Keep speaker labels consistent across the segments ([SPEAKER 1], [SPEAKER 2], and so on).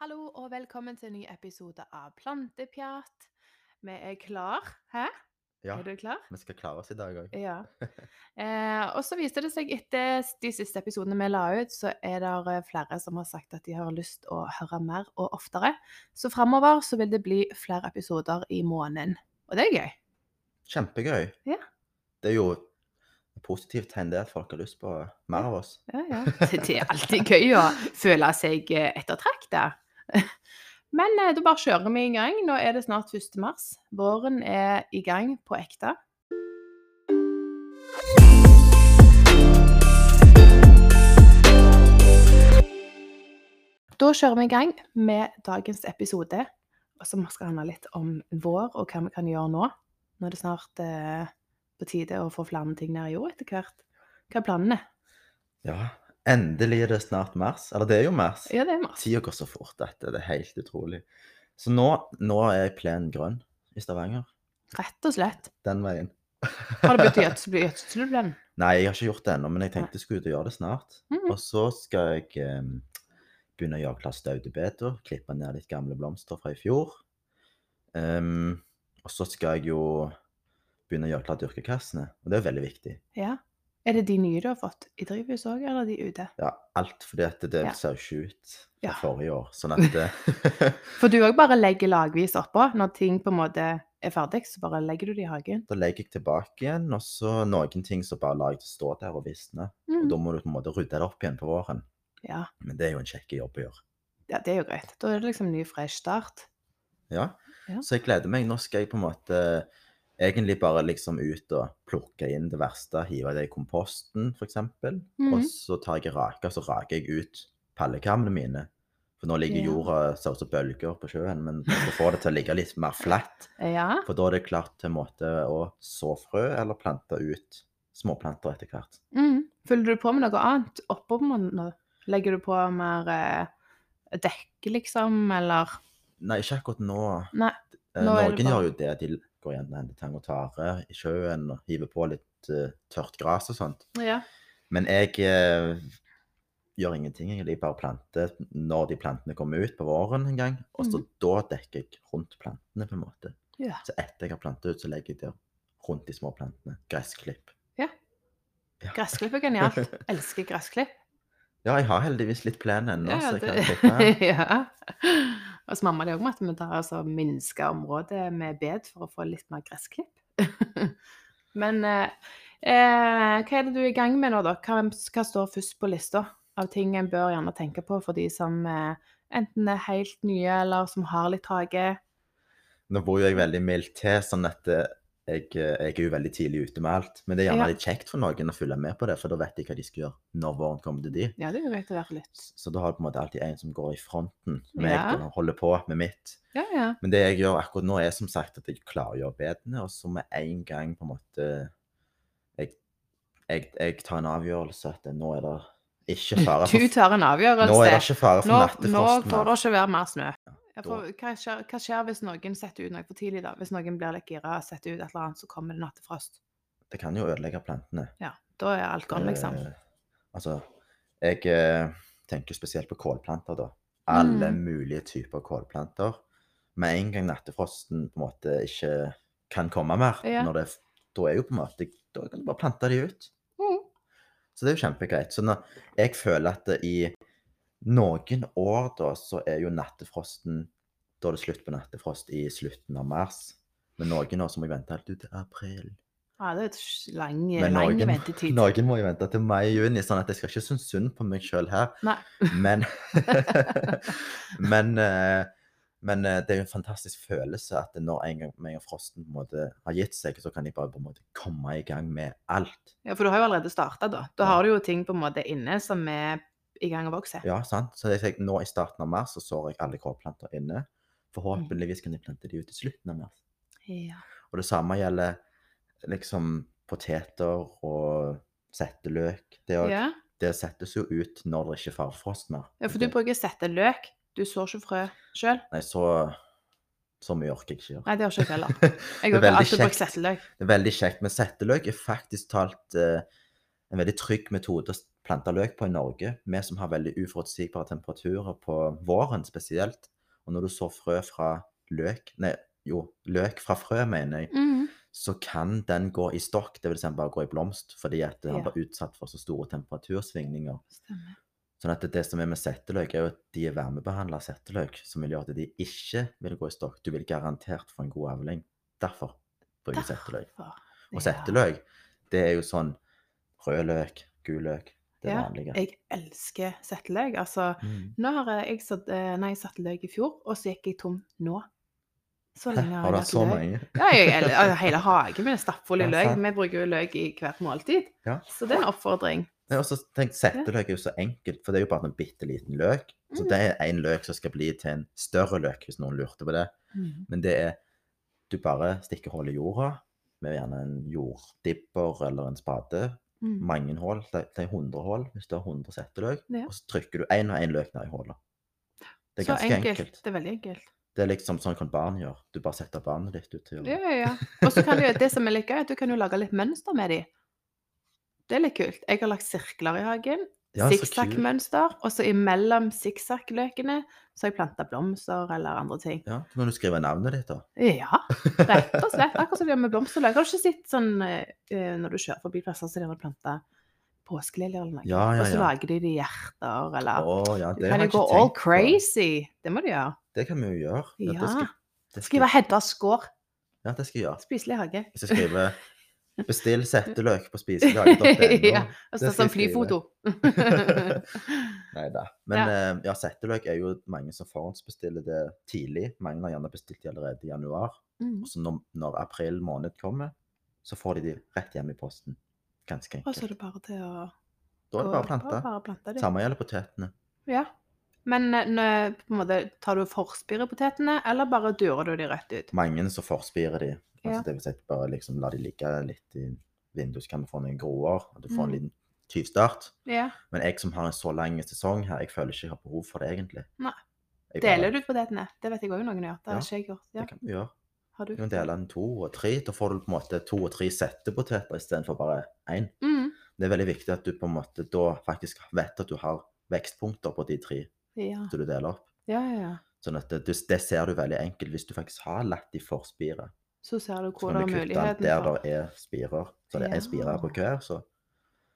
[SPEAKER 1] Hallo og velkommen til en ny episode av Plantepjatt. Vi er klar. Hæ?
[SPEAKER 2] Ja,
[SPEAKER 1] Er du klar?
[SPEAKER 2] vi skal klare oss i dag òg.
[SPEAKER 1] Ja. Eh, og så viste det seg etter de siste episodene vi la ut, så er det eh, flere som har sagt at de har lyst å høre mer og oftere. Så framover så vil det bli flere episoder i måneden. Og det er gøy.
[SPEAKER 2] Kjempegøy.
[SPEAKER 1] Ja.
[SPEAKER 2] Det er jo et positivt tegn det at folk har lyst på mer av oss.
[SPEAKER 1] Ja, ja. Det, det er alltid gøy å føle seg eh, ettertraktet. Men eh, da bare kjører vi i gang. Nå er det snart 1. mars. Våren er i gang på ekte. Da kjører vi i gang med dagens episode, som skal handle litt om vår og hva vi kan gjøre nå. Nå er det snart eh, på tide å få flere ting ned i jord etter hvert. Hva er planene?
[SPEAKER 2] Ja, endelig er det snart mars. Eller det er jo mars.
[SPEAKER 1] Ja, det er mars.
[SPEAKER 2] Tida går så fort at det er helt utrolig. Så nå, nå er jeg plen grønn i Stavanger.
[SPEAKER 1] Rett og slett.
[SPEAKER 2] Den veien.
[SPEAKER 1] Har du begynt å gjødsle gjødsle den?
[SPEAKER 2] Nei, jeg har ikke gjort det ennå, men jeg tenkte jeg skulle ut og gjøre det snart.
[SPEAKER 1] Mhm.
[SPEAKER 2] Og så skal jeg eh, begynne å gjøre klar staudebeder, klippe ned litt gamle blomster fra i fjor. Ehm, og så skal jeg jo begynne å gjøre klar dyrkekassene, og det er veldig viktig.
[SPEAKER 1] Ja. Er det de nye du har fått i drivhuset òg, eller de ute?
[SPEAKER 2] Ja, alt fordi at det
[SPEAKER 1] Ja.
[SPEAKER 2] ser jo ikke ut fra
[SPEAKER 1] Ja.
[SPEAKER 2] forrige år, sånn at det,
[SPEAKER 1] For du òg bare legger lagvis oppå. Når ting på en måte er ferdig, så bare legger du det i hagen.
[SPEAKER 2] da legger jeg tilbake igjen, og så noen ting så bare lar jeg det stå der og visne. Og
[SPEAKER 1] Mm.
[SPEAKER 2] da må du på en måte rydde det opp igjen på våren.
[SPEAKER 1] Ja.
[SPEAKER 2] Men det er jo en kjekke jobb å gjøre.
[SPEAKER 1] ja, det er jo greit. Da er det liksom ny fresh start.
[SPEAKER 2] Ja.
[SPEAKER 1] Ja.
[SPEAKER 2] Så jeg gleder meg. Nå skal jeg på en måte egentlig bare liksom ut og plukke inn det verste, hive det i komposten f.eks. eksempel. Og
[SPEAKER 1] Mhm.
[SPEAKER 2] så tar jeg rake, så raker jeg ut pallekamene mine. For nå ligger
[SPEAKER 1] Ja.
[SPEAKER 2] jorda ser ut som bølger på sjøen, men jeg skal få det til å ligge litt mer flatt.
[SPEAKER 1] Ja.
[SPEAKER 2] For da er det klart til en måte å så frø eller plante ut småplanter etter hvert.
[SPEAKER 1] Mm. Følger du på med noe annet oppå nå? Legger du på mer eh, dekke, liksom, eller
[SPEAKER 2] Nei, ikke akkurat nå.
[SPEAKER 1] Nei,
[SPEAKER 2] Eh,
[SPEAKER 1] nå er det
[SPEAKER 2] Noen
[SPEAKER 1] bare-
[SPEAKER 2] gjør jo det. De går igjen og henter tang og tare i sjøen og hiver på litt eh, tørt gress og sånt.
[SPEAKER 1] Ja.
[SPEAKER 2] Men jeg eh, gjør ingenting. egentlig. Jeg bare planter når de plantene kommer ut på våren en gang. Og
[SPEAKER 1] Mhm.
[SPEAKER 2] så da dekker jeg rundt plantene, på en måte.
[SPEAKER 1] Ja.
[SPEAKER 2] Så etter jeg har plantet ut, så legger jeg der rundt de små plantene. Gressklipp.
[SPEAKER 1] Ja.
[SPEAKER 2] Ja.
[SPEAKER 1] Gressklipp er genialt. Elsker gressklipp.
[SPEAKER 2] Ja, jeg har heldigvis litt plen ennå,
[SPEAKER 1] Ja,
[SPEAKER 2] så jeg kan
[SPEAKER 1] det-
[SPEAKER 2] klippe.
[SPEAKER 1] ja. Og så mamma det òg med at vi tar altså minsker området med bed for å få litt mer gressklipp. Men eh, eh, hva er det du er i gang med nå, da? Hva, hva står først på lista av ting en bør gjerne tenke på for de som eh, enten er helt nye, eller som har litt hage?
[SPEAKER 2] Nå bor jo jeg veldig mildt til, sånn at eh, jeg, eh, jeg er jo veldig tidlig ute med alt. Men det er
[SPEAKER 1] Ja.
[SPEAKER 2] gjerne litt kjekt for noen å følge med på det, for da vet de hva de skal gjøre når våren kommer til de.
[SPEAKER 1] Ja, det er jo greit å være litt
[SPEAKER 2] Så da har jeg på en måte alltid en som går i fronten. Meg
[SPEAKER 1] Ja.
[SPEAKER 2] og holder på med mitt.
[SPEAKER 1] Ja, ja.
[SPEAKER 2] Men det jeg gjør akkurat nå, er som sagt at jeg klargjør bedene, og så med en gang på en måte jeg, jeg, jeg tar en avgjørelse at nå er det ikke fare
[SPEAKER 1] Du
[SPEAKER 2] for,
[SPEAKER 1] tar en
[SPEAKER 2] nå er det
[SPEAKER 1] avgjørelse.
[SPEAKER 2] ikke fare for
[SPEAKER 1] Nå, nå
[SPEAKER 2] nattefrost.
[SPEAKER 1] får det
[SPEAKER 2] mer.
[SPEAKER 1] ikke være mer snø. Ja,
[SPEAKER 2] da-
[SPEAKER 1] for hva, skjer, hva skjer hvis noen setter ut noe for tidlig, da? Hvis noen blir litt gira og setter ut et eller annet, så kommer det nattefrost.
[SPEAKER 2] Det kan jo ødelegge plantene.
[SPEAKER 1] Ja, da er alt gone, liksom.
[SPEAKER 2] Eh, altså, jeg eh, tenker spesielt på kålplanter, da. Alle
[SPEAKER 1] Mm.
[SPEAKER 2] mulige typer kålplanter. Med en gang nattefrosten på en måte ikke kan komme mer,
[SPEAKER 1] Ja.
[SPEAKER 2] når det, da er jo på en måte Da kan du bare plante de ut.
[SPEAKER 1] Mm.
[SPEAKER 2] Så det er jo kjempegreit. Så når jeg føler at det i noen år da, så er jo nattefrosten Da er det slutt på nattefrost i slutten av mars. Men noen år så må jeg vente helt ut til april.
[SPEAKER 1] Ja, det er et sj- lang,
[SPEAKER 2] Men
[SPEAKER 1] lang
[SPEAKER 2] noen-
[SPEAKER 1] ventetid.
[SPEAKER 2] Noen må jo vente til mai-juni, sånn at jeg skal ikke synes synd på meg sjøl her.
[SPEAKER 1] Nei.
[SPEAKER 2] Men, men, eh, men eh, det er jo en fantastisk følelse at når en gang med en gang frosten på en måte har gitt seg, så kan de bare på en måte komme i gang med alt.
[SPEAKER 1] Ja, for du har jo allerede starta, da. Da har du jo ting på en måte inne som er i gang å vokse.
[SPEAKER 2] Ja, sant? Så jeg tenker, nå i starten av mars så sår jeg alle kålplanter inne.
[SPEAKER 1] Mm.
[SPEAKER 2] Forhåpentligvis kan jeg plante de ut i slutten av mars.
[SPEAKER 1] Ja.
[SPEAKER 2] Og det samme gjelder liksom poteter og setteløk. Det, er-
[SPEAKER 1] Ja.
[SPEAKER 2] det settes jo ut når det ikke er farfrost mer.
[SPEAKER 1] ja, for du bruker sette løk. Du sår ikke frø sjøl.
[SPEAKER 2] Nei, så, så mye orker jeg ikke gjøre.
[SPEAKER 1] Nei, det har ikke jeg heller.
[SPEAKER 2] Det
[SPEAKER 1] Jeg
[SPEAKER 2] er
[SPEAKER 1] har
[SPEAKER 2] veldig
[SPEAKER 1] alltid brukt
[SPEAKER 2] kjekt.
[SPEAKER 1] setteløk.
[SPEAKER 2] Det er veldig kjekt, men setteløk er faktisk talt eh, en veldig trygg metode å s- planta løk på i Norge, vi som har veldig uforutsigbare temperaturer på våren spesielt, og når du sår frø fra løk Nei, jo, løk fra frø, mener jeg,
[SPEAKER 1] Mhm.
[SPEAKER 2] så kan den gå i stokk, dvs. den bare går i blomst, fordi at den
[SPEAKER 1] Ja.
[SPEAKER 2] var utsatt for så store temperatursvingninger.
[SPEAKER 1] Stemmer.
[SPEAKER 2] Sånn at det som er med setteløk, er jo at de er varmebehandla setteløk, som vil gjøre at de ikke vil gå i stokk. Du vil garantert få en god avling. Derfor bruker jeg setteløk.
[SPEAKER 1] Derfor.
[SPEAKER 2] Og setteløk, det er jo sånn rød løk, gul løk, det
[SPEAKER 1] Ja,
[SPEAKER 2] vanlige.
[SPEAKER 1] Jeg elsker setteløk. Altså,
[SPEAKER 2] Mm.
[SPEAKER 1] nå har jeg- jeg satt, eh, nei, jeg satte løk i fjor, og så gikk jeg tom nå. Så
[SPEAKER 2] Hæ,
[SPEAKER 1] lenge har
[SPEAKER 2] Har du
[SPEAKER 1] jeg
[SPEAKER 2] hatt så
[SPEAKER 1] hatt løk.
[SPEAKER 2] mange?
[SPEAKER 1] Ja, jeg, eller, altså, hele hagen min er stappfull av
[SPEAKER 2] Ja,
[SPEAKER 1] løk.
[SPEAKER 2] sant.
[SPEAKER 1] Vi bruker jo løk i hvert måltid.
[SPEAKER 2] Ja.
[SPEAKER 1] Så det er en oppfordring.
[SPEAKER 2] Nei, og så tenk, Setteløk er jo så enkelt, for det er jo bare en bitte liten løk. Så
[SPEAKER 1] Mm.
[SPEAKER 2] det er en løk som skal bli til en større løk, hvis noen lurte på det.
[SPEAKER 1] Mm.
[SPEAKER 2] Men det er Du bare stikker hull i jorda med gjerne en jorddibber eller en spade.
[SPEAKER 1] Mm.
[SPEAKER 2] mange hull, det det er 100 hull, hvis du har 100 setteløk,
[SPEAKER 1] Ja.
[SPEAKER 2] og så trykker du én og én løk ned i hullet. Det er
[SPEAKER 1] Så
[SPEAKER 2] ganske enkelt.
[SPEAKER 1] Det er veldig enkelt.
[SPEAKER 2] Det er liksom sånn kan barn gjøre. Du bare setter barnet ditt ut til å
[SPEAKER 1] Ja,
[SPEAKER 2] gjøre det.
[SPEAKER 1] ja, ja. Og så kan du, det som er litt gøy, er at du kan jo lage litt mønster med de. Det er litt kult. Jeg har lagt sirkler i hagen.
[SPEAKER 2] Ja, så kult.
[SPEAKER 1] Sikksakk-mønster. Og så imellom sikksakk-løkene så har jeg planta blomster eller andre ting.
[SPEAKER 2] Ja, så kan du skrive navnet ditt, da.
[SPEAKER 1] Ja, rett og slett. Akkurat som det gjør med blomsterløk. Har du ikke sett sånn eh, når du kjører forbi plasser, så de har planta påskeliljer eller noe?
[SPEAKER 2] Ja, ja,
[SPEAKER 1] Og så
[SPEAKER 2] ja.
[SPEAKER 1] lager de de hjerter, eller
[SPEAKER 2] Å, ja,
[SPEAKER 1] Du
[SPEAKER 2] det
[SPEAKER 1] kan
[SPEAKER 2] har
[SPEAKER 1] jo
[SPEAKER 2] jeg
[SPEAKER 1] gå
[SPEAKER 2] ikke
[SPEAKER 1] all
[SPEAKER 2] tenkt på.
[SPEAKER 1] crazy. Det må du gjøre.
[SPEAKER 2] Det kan vi jo gjøre.
[SPEAKER 1] Ja.
[SPEAKER 2] det skal, det skal,
[SPEAKER 1] Skrive Hedda Skår.
[SPEAKER 2] ja, det skal jeg gjøre.
[SPEAKER 1] Spiselig hage.
[SPEAKER 2] Hvis jeg skriver 'bestill setteløk på spiselag.no'
[SPEAKER 1] Ja. Og så
[SPEAKER 2] Det skal
[SPEAKER 1] sånn
[SPEAKER 2] jeg
[SPEAKER 1] flyfoto.
[SPEAKER 2] Nei da. Men eh, ja, setteløk er jo mange som forhåndsbestiller det tidlig. Mange har gjerne bestilt det allerede i januar.
[SPEAKER 1] Mm.
[SPEAKER 2] Og så når, når april måned kommer, så får de de rett hjem i posten. Ganske
[SPEAKER 1] Og så er
[SPEAKER 2] enkelt.
[SPEAKER 1] det bare til å
[SPEAKER 2] Da er det bare å plante.
[SPEAKER 1] Bare plante det.
[SPEAKER 2] Samme gjelder potetene.
[SPEAKER 1] Ja. Men eh, nå- på en måte, tar du forspir i potetene, eller bare durer du de rett ut?
[SPEAKER 2] Mange så forspirer de. Altså,
[SPEAKER 1] Ja.
[SPEAKER 2] Det vil si at bare liksom la de ligge litt i vinduet, så kan vi få noen groer. Og du
[SPEAKER 1] Mm.
[SPEAKER 2] får en liten tyvstart.
[SPEAKER 1] Ja.
[SPEAKER 2] Men jeg som har en så lang sesong her, jeg føler ikke jeg har behov for det egentlig.
[SPEAKER 1] Nei.
[SPEAKER 2] Jeg bare-
[SPEAKER 1] Deler du potetene? Det vet jeg òg noen gjør. Det har
[SPEAKER 2] Ja,
[SPEAKER 1] ikke jeg gjort. Ja.
[SPEAKER 2] Det kan vi gjøre.
[SPEAKER 1] Har du?
[SPEAKER 2] Du kan dele den i to og tre. Da får du på en måte to og tre settepoteter istedenfor bare én.
[SPEAKER 1] Mm.
[SPEAKER 2] Det er veldig viktig at du på en måte da faktisk vet at du har vekstpunkter på de tre
[SPEAKER 1] Ja.
[SPEAKER 2] som du deler opp.
[SPEAKER 1] ja, ja, ja.
[SPEAKER 2] Sånn at det, det ser du veldig enkelt hvis du faktisk har latt de forspire.
[SPEAKER 1] Så ser du
[SPEAKER 2] Så
[SPEAKER 1] hvor det
[SPEAKER 2] kan du
[SPEAKER 1] er
[SPEAKER 2] kutte den
[SPEAKER 1] muligheten
[SPEAKER 2] der
[SPEAKER 1] for.
[SPEAKER 2] det er spirer. Så det er
[SPEAKER 1] Ja.
[SPEAKER 2] en spirer på hver. Så,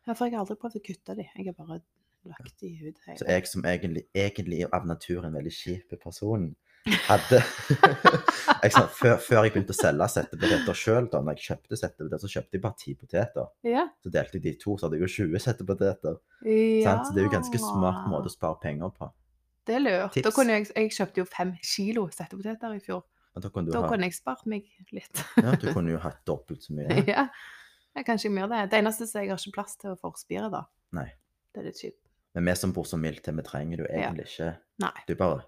[SPEAKER 1] Ja, for jeg har aldri prøvd å kutte de. Jeg har bare lagt de ut
[SPEAKER 2] så
[SPEAKER 1] hele.
[SPEAKER 2] jeg som egentlig, egentlig er av natur en veldig kjip person, hadde jeg sa, før, før jeg begynte å selge settepoteter sjøl, da når jeg kjøpte settepoteter, så kjøpte jeg bare ti poteter.
[SPEAKER 1] Ja.
[SPEAKER 2] Så delte jeg de i to, så hadde jeg jo 20 settepoteter.
[SPEAKER 1] ja.
[SPEAKER 2] sant? Så det er jo ganske smart måte å spare penger på.
[SPEAKER 1] Det er lurt. Da
[SPEAKER 2] Tips.
[SPEAKER 1] kunne jeg, jeg kjøpte jo fem kilo settepoteter i fjor.
[SPEAKER 2] Men da kunne du,
[SPEAKER 1] Da
[SPEAKER 2] ha,
[SPEAKER 1] kunne jeg spart meg litt.
[SPEAKER 2] ja, du kunne jo hatt dobbelt så mye.
[SPEAKER 1] ja. Jeg kan ikke gjøre det. Det eneste er at jeg har ikke plass til å forspire, da.
[SPEAKER 2] Nei.
[SPEAKER 1] Det er litt kjipt.
[SPEAKER 2] Men vi som bor så mildt til, vi trenger det jo egentlig ikke.
[SPEAKER 1] Nei.
[SPEAKER 2] Du bare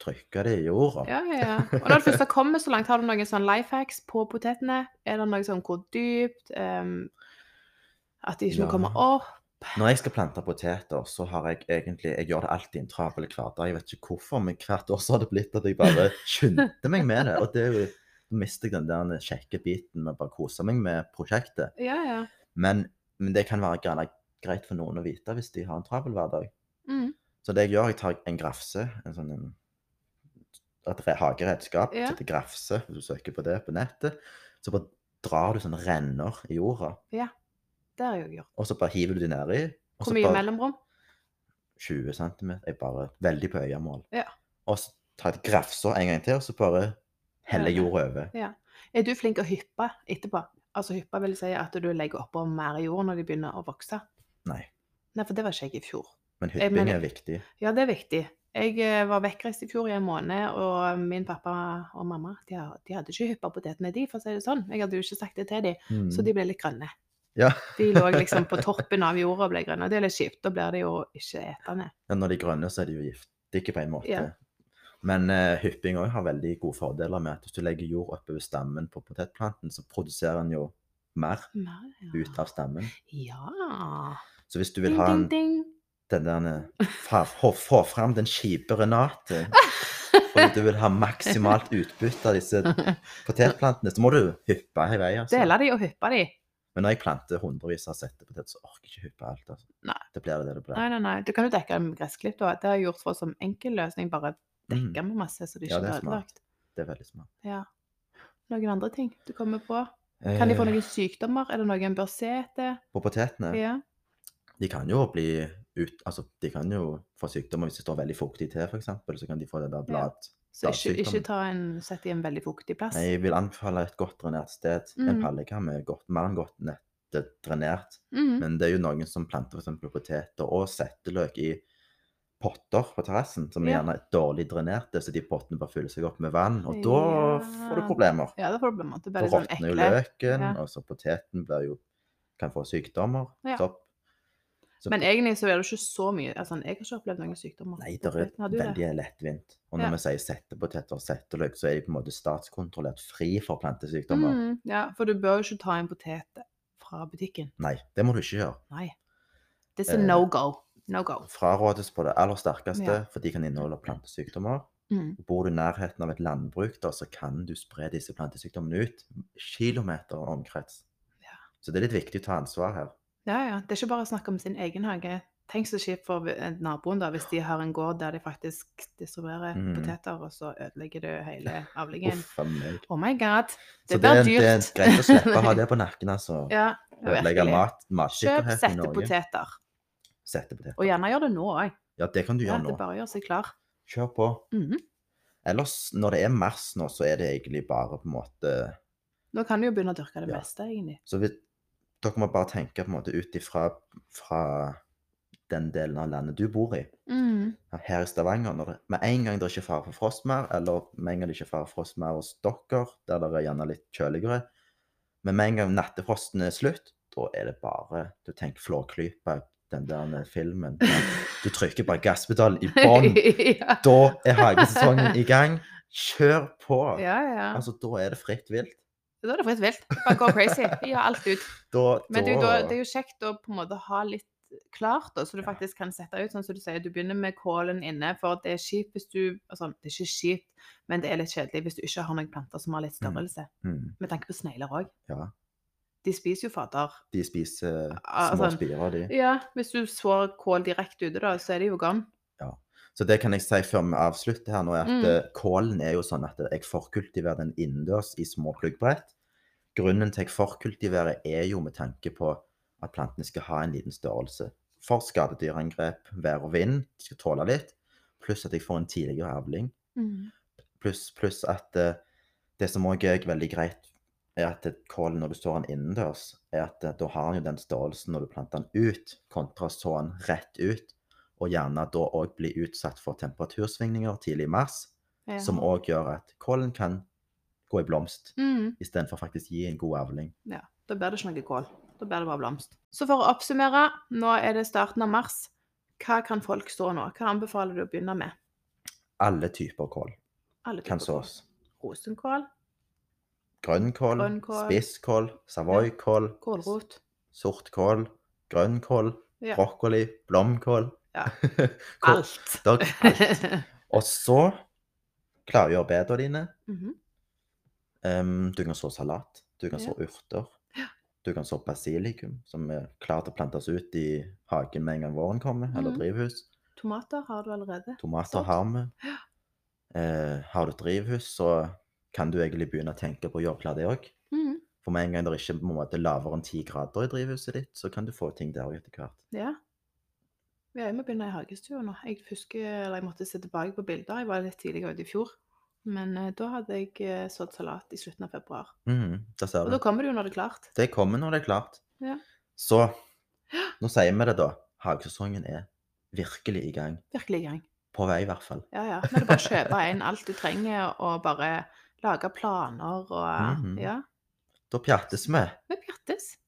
[SPEAKER 2] trykker det i jorda.
[SPEAKER 1] Ja, ja, ja. Og når det først har kommet så langt, har du noen sånn life hacks på potetene? Er det noe sånn hvor dypt? em, at de ikke
[SPEAKER 2] Ja.
[SPEAKER 1] må komme opp?
[SPEAKER 2] Når jeg skal plante poteter, så har jeg egentlig Jeg gjør det alltid i en travel hverdag. Jeg vet ikke hvorfor, men hvert år så har det blitt at jeg bare skyndte meg med det. Og det er jo Da mister jeg den der kjekke biten med å bare kose meg med prosjektet.
[SPEAKER 1] Ja, ja.
[SPEAKER 2] Men, men det kan være gjerne greit for noen å vite hvis de har en travel hverdag.
[SPEAKER 1] Mm.
[SPEAKER 2] Så det jeg gjør, jeg tar en grafse, en sånn en, et re- hageredskap,
[SPEAKER 1] Ja.
[SPEAKER 2] setter grafse, hvis du søker på det på nettet, så bare drar du sånne renner i jorda,
[SPEAKER 1] Det har jeg jo gjort.
[SPEAKER 2] og så bare hiver du de nedi. og så
[SPEAKER 1] Hvor mye
[SPEAKER 2] bare-
[SPEAKER 1] mellomrom?
[SPEAKER 2] 20 cm. Jeg bare veldig på øyemål.
[SPEAKER 1] Ja.
[SPEAKER 2] Og så tar jeg grafsa en gang til, og så bare heller jeg
[SPEAKER 1] Ja.
[SPEAKER 2] jord over.
[SPEAKER 1] Er du flink å hyppe etterpå? Altså hyppe vil si at du legger oppå mer jord når de begynner å vokse?
[SPEAKER 2] Nei,
[SPEAKER 1] Nei, for det var ikke jeg i fjor.
[SPEAKER 2] men
[SPEAKER 1] Jeg
[SPEAKER 2] hypping
[SPEAKER 1] mener-
[SPEAKER 2] er viktig.
[SPEAKER 1] Ja, det er viktig. Jeg eh, var vekkreist i fjor i en måned, og min pappa og mamma de, har- de hadde ikke hyppa potetene, de, for å si det sånn. Jeg hadde jo ikke sagt det til dem,
[SPEAKER 2] Mm.
[SPEAKER 1] så de ble litt grønne.
[SPEAKER 2] ja.
[SPEAKER 1] De lå liksom på toppen av jorda og ble grønne. Det er litt kjipt. Da blir det jo ikke etende.
[SPEAKER 2] ja, når de er grønne, så er de jo giftige på en måte.
[SPEAKER 1] Ja.
[SPEAKER 2] Men eh, hypping òg har veldig gode fordeler med at hvis du legger jord oppover stammen på potetplanten, så produserer den jo mer
[SPEAKER 1] Mer,
[SPEAKER 2] ut av stammen.
[SPEAKER 1] Ja.
[SPEAKER 2] Så hvis du vil
[SPEAKER 1] Ding,
[SPEAKER 2] ha
[SPEAKER 1] ding,
[SPEAKER 2] en, sånn
[SPEAKER 1] ding.
[SPEAKER 2] den der eh, fa- få- Få fram den kjipe Renate, og du vil ha maksimalt utbytte av disse potetplantene, så må du hyppe i vei. Altså.
[SPEAKER 1] Dele de og hyppe de.
[SPEAKER 2] Men når jeg planter hundrevis av settepoteter, så orker jeg ikke hyppe alt. altså.
[SPEAKER 1] Nei.
[SPEAKER 2] Det blir det det det blir.
[SPEAKER 1] Nei, nei, nei. Du kan jo dekke det med gressklipp. da. Det har jeg gjort for som enkel løsning. Bare
[SPEAKER 2] Mm,
[SPEAKER 1] dekke med masse, så det
[SPEAKER 2] Ja,
[SPEAKER 1] ikke
[SPEAKER 2] det
[SPEAKER 1] blir
[SPEAKER 2] er smart.
[SPEAKER 1] ødelagt.
[SPEAKER 2] det er veldig smart.
[SPEAKER 1] Ja. Noen andre ting du kommer på? Kan de få
[SPEAKER 2] Eh,
[SPEAKER 1] noen sykdommer? Er det noe en bør se etter?
[SPEAKER 2] På potetene?
[SPEAKER 1] Ja.
[SPEAKER 2] De kan jo bli ut, altså, de kan jo få sykdommer hvis det står veldig fuktig til, f.eks. Så kan de få det der
[SPEAKER 1] Ja.
[SPEAKER 2] blad...
[SPEAKER 1] Så ikke,
[SPEAKER 2] Bladsykdommen.
[SPEAKER 1] ikke ta en, sett i en veldig fuktig plass.
[SPEAKER 2] Nei, jeg vil anbefale et godt drenert sted.
[SPEAKER 1] Mm.
[SPEAKER 2] En pallekamme er godt, mer enn godt nett, drenert.
[SPEAKER 1] Mhm.
[SPEAKER 2] Men det er jo noen som planter f.eks. poteter og setteløk i potter på terrassen, som er
[SPEAKER 1] Ja.
[SPEAKER 2] gjerne er dårlig drenerte, så de pottene bare fyller seg opp med vann, og da får du
[SPEAKER 1] Ja.
[SPEAKER 2] problemer.
[SPEAKER 1] Ja, det får du blant annet. Det blir
[SPEAKER 2] Da
[SPEAKER 1] litt sånn
[SPEAKER 2] råtner jo
[SPEAKER 1] ekle.
[SPEAKER 2] løken,
[SPEAKER 1] Ja.
[SPEAKER 2] og så poteten blir jo, kan få sykdommer.
[SPEAKER 1] Ja.
[SPEAKER 2] Sopp. Så-
[SPEAKER 1] Men egentlig så er det ikke så mye altså, Jeg har ikke opplevd noen sykdommer.
[SPEAKER 2] Nei,
[SPEAKER 1] på
[SPEAKER 2] det er
[SPEAKER 1] fløten. Har du det?
[SPEAKER 2] veldig lettvint. Og når
[SPEAKER 1] Ja.
[SPEAKER 2] vi sier settepoteter og setteløk, så er de på en måte statskontrollert fri for plantesykdommer.
[SPEAKER 1] Mm, ja, for du bør jo ikke ta en potet fra butikken.
[SPEAKER 2] Nei, det må du ikke gjøre.
[SPEAKER 1] Nei. Det er
[SPEAKER 2] Eh.
[SPEAKER 1] no go. No go.
[SPEAKER 2] Frarådes på det aller sterkeste,
[SPEAKER 1] Ja.
[SPEAKER 2] for de kan inneholde plantesykdommer.
[SPEAKER 1] Mm.
[SPEAKER 2] Bor du i nærheten av et landbruk, da, så kan du spre disse plantesykdommene ut kilometer omkrets.
[SPEAKER 1] Ja.
[SPEAKER 2] Så det er litt viktig å ta ansvar her.
[SPEAKER 1] Ja, ja. Det er ikke bare å snakke om sin egen hage. Tenk så kjipt for eh, naboen da, hvis de har en gård der de faktisk distribuerer
[SPEAKER 2] Mm.
[SPEAKER 1] poteter, og så ødelegger du hele avlingen.
[SPEAKER 2] Uff a meg.
[SPEAKER 1] Oh my god.
[SPEAKER 2] Så
[SPEAKER 1] Det
[SPEAKER 2] det,
[SPEAKER 1] blir
[SPEAKER 2] er- det er
[SPEAKER 1] dyrt.
[SPEAKER 2] greit å slippe å ha det på nakken, altså.
[SPEAKER 1] Ja,
[SPEAKER 2] Ødelegge
[SPEAKER 1] virkelig.
[SPEAKER 2] mat,
[SPEAKER 1] Kjøp
[SPEAKER 2] matsikkerheten i Norge.
[SPEAKER 1] settepoteter.
[SPEAKER 2] Settepoteter.
[SPEAKER 1] Og gjerne gjør det nå òg.
[SPEAKER 2] Ja, det kan du
[SPEAKER 1] Ja,
[SPEAKER 2] gjøre
[SPEAKER 1] det
[SPEAKER 2] nå.
[SPEAKER 1] er bare å gjøre seg klar.
[SPEAKER 2] Kjør på.
[SPEAKER 1] Mhm.
[SPEAKER 2] Ellers, når det er mars nå, så er det egentlig bare på en måte
[SPEAKER 1] Nå kan du jo begynne å dyrke det
[SPEAKER 2] Ja.
[SPEAKER 1] meste, egentlig.
[SPEAKER 2] Så vi, dere må bare tenke på en måte ut ifra fra den delen av landet du bor i.
[SPEAKER 1] Mhm.
[SPEAKER 2] Her i Stavanger, når det, med en gang det ikke er fare for frost mer, eller med en gang det ikke er fare for frost mer hos dere, der det er gjerne litt kjøligere, men med en gang nattefrosten er slutt, da er det bare Du tenker Flåklypa, den der filmen. Du trykker bare gasspedalen i bånn.
[SPEAKER 1] ja.
[SPEAKER 2] Da er hagesesongen i gang. Kjør på!
[SPEAKER 1] ja, ja.
[SPEAKER 2] Altså, da er det fritt vilt.
[SPEAKER 1] Da er det fritt vilt. Bare gå crazy. Gjør alt ut.
[SPEAKER 2] Da,
[SPEAKER 1] Men
[SPEAKER 2] da,
[SPEAKER 1] det er jo da, det er jo kjekt å på en måte ha litt klart, da, så du
[SPEAKER 2] Ja.
[SPEAKER 1] faktisk kan sette ut. Sånn som du sier, du begynner med kålen inne, for det er kjipt hvis du altså, Det er ikke kjipt, men det er litt kjedelig hvis du ikke har noen planter som har litt størrelse.
[SPEAKER 2] mm.
[SPEAKER 1] Med tanke på snegler òg.
[SPEAKER 2] Ja.
[SPEAKER 1] De spiser jo fader.
[SPEAKER 2] De spiser
[SPEAKER 1] Ah,
[SPEAKER 2] små
[SPEAKER 1] sånn.
[SPEAKER 2] spirer, de.
[SPEAKER 1] Ja, hvis du sår kål direkte ute, da, så er de jo gone.
[SPEAKER 2] Så det kan jeg si før vi avslutter her nå, er at
[SPEAKER 1] Mm.
[SPEAKER 2] eh, kålen er jo sånn at jeg forkultiverer den innendørs i små pluggbrett. Grunnen til at jeg forkultiverer er jo med tanke på at plantene skal ha en liten størrelse. For skadedyrangrep, vær og vind, de skal tåle litt. Pluss at jeg får en tidligere avling.
[SPEAKER 1] Mm.
[SPEAKER 2] Pluss pluss at eh, det som òg er veldig greit, er at et kål når du står den innendørs, er at eh, da har den jo den størrelsen når du planter den ut, kontra så den rett ut. Og gjerne da òg bli utsatt for temperatursvingninger tidlig i mars,
[SPEAKER 1] Ja.
[SPEAKER 2] som òg gjør at kålen kan gå i blomst,
[SPEAKER 1] Mm.
[SPEAKER 2] istedenfor faktisk gi en god avling.
[SPEAKER 1] Da blir det ikke noe kål. Da blir det bare blomst. Så for å oppsummere, nå er det starten av mars. Hva kan folk så nå? Hva anbefaler du å begynne med?
[SPEAKER 2] Alle typer kål
[SPEAKER 1] Alle
[SPEAKER 2] kan
[SPEAKER 1] typer kål.
[SPEAKER 2] sås.
[SPEAKER 1] Rosenkål,
[SPEAKER 2] Grønnkål,
[SPEAKER 1] Grønnkål.
[SPEAKER 2] spisskål, savoykål,
[SPEAKER 1] kålrot.
[SPEAKER 2] sortkål, grønnkål,
[SPEAKER 1] Ja.
[SPEAKER 2] brokkoli, blomkål.
[SPEAKER 1] Ja.
[SPEAKER 2] Kål-
[SPEAKER 1] Alt.
[SPEAKER 2] Der, alt. Og så klargjør bedene dine.
[SPEAKER 1] Mhm.
[SPEAKER 2] Ehm, du kan så salat, du kan
[SPEAKER 1] Ja.
[SPEAKER 2] så urter, du kan så basilikum, som er klar til å plantes ut i hagen med en gang våren kommer, eller
[SPEAKER 1] Mhm.
[SPEAKER 2] drivhus.
[SPEAKER 1] Tomater har du allerede.
[SPEAKER 2] Tomater
[SPEAKER 1] Sant.
[SPEAKER 2] har vi. Eh, har du et drivhus, så kan du egentlig begynne å tenke på å gjøre klar det òg.
[SPEAKER 1] Mhm.
[SPEAKER 2] For med en gang det er ikke på en måte lavere enn ti grader i drivhuset ditt, så kan du få ting der også etter hvert.
[SPEAKER 1] Ja. Ja, jeg må begynne i hagestua nå. Jeg husker, eller jeg måtte se tilbake på bilder. Jeg var litt tidligere ute i fjor. Men eh, da hadde jeg eh, sådd salat i slutten av februar.
[SPEAKER 2] Mhm, der ser
[SPEAKER 1] Og
[SPEAKER 2] du.
[SPEAKER 1] da kommer det jo når det er klart.
[SPEAKER 2] Det kommer når det er klart.
[SPEAKER 1] Ja.
[SPEAKER 2] Så nå sier vi det, da. Hagesesongen er virkelig i gang.
[SPEAKER 1] Virkelig i gang.
[SPEAKER 2] På vei, i hvert fall.
[SPEAKER 1] Ja, ja. Nå er det bare å kjøpe inn alt du trenger, og bare lage planer og
[SPEAKER 2] Mhm.
[SPEAKER 1] Ja.
[SPEAKER 2] Da pjattes vi.
[SPEAKER 1] Vi pjattes.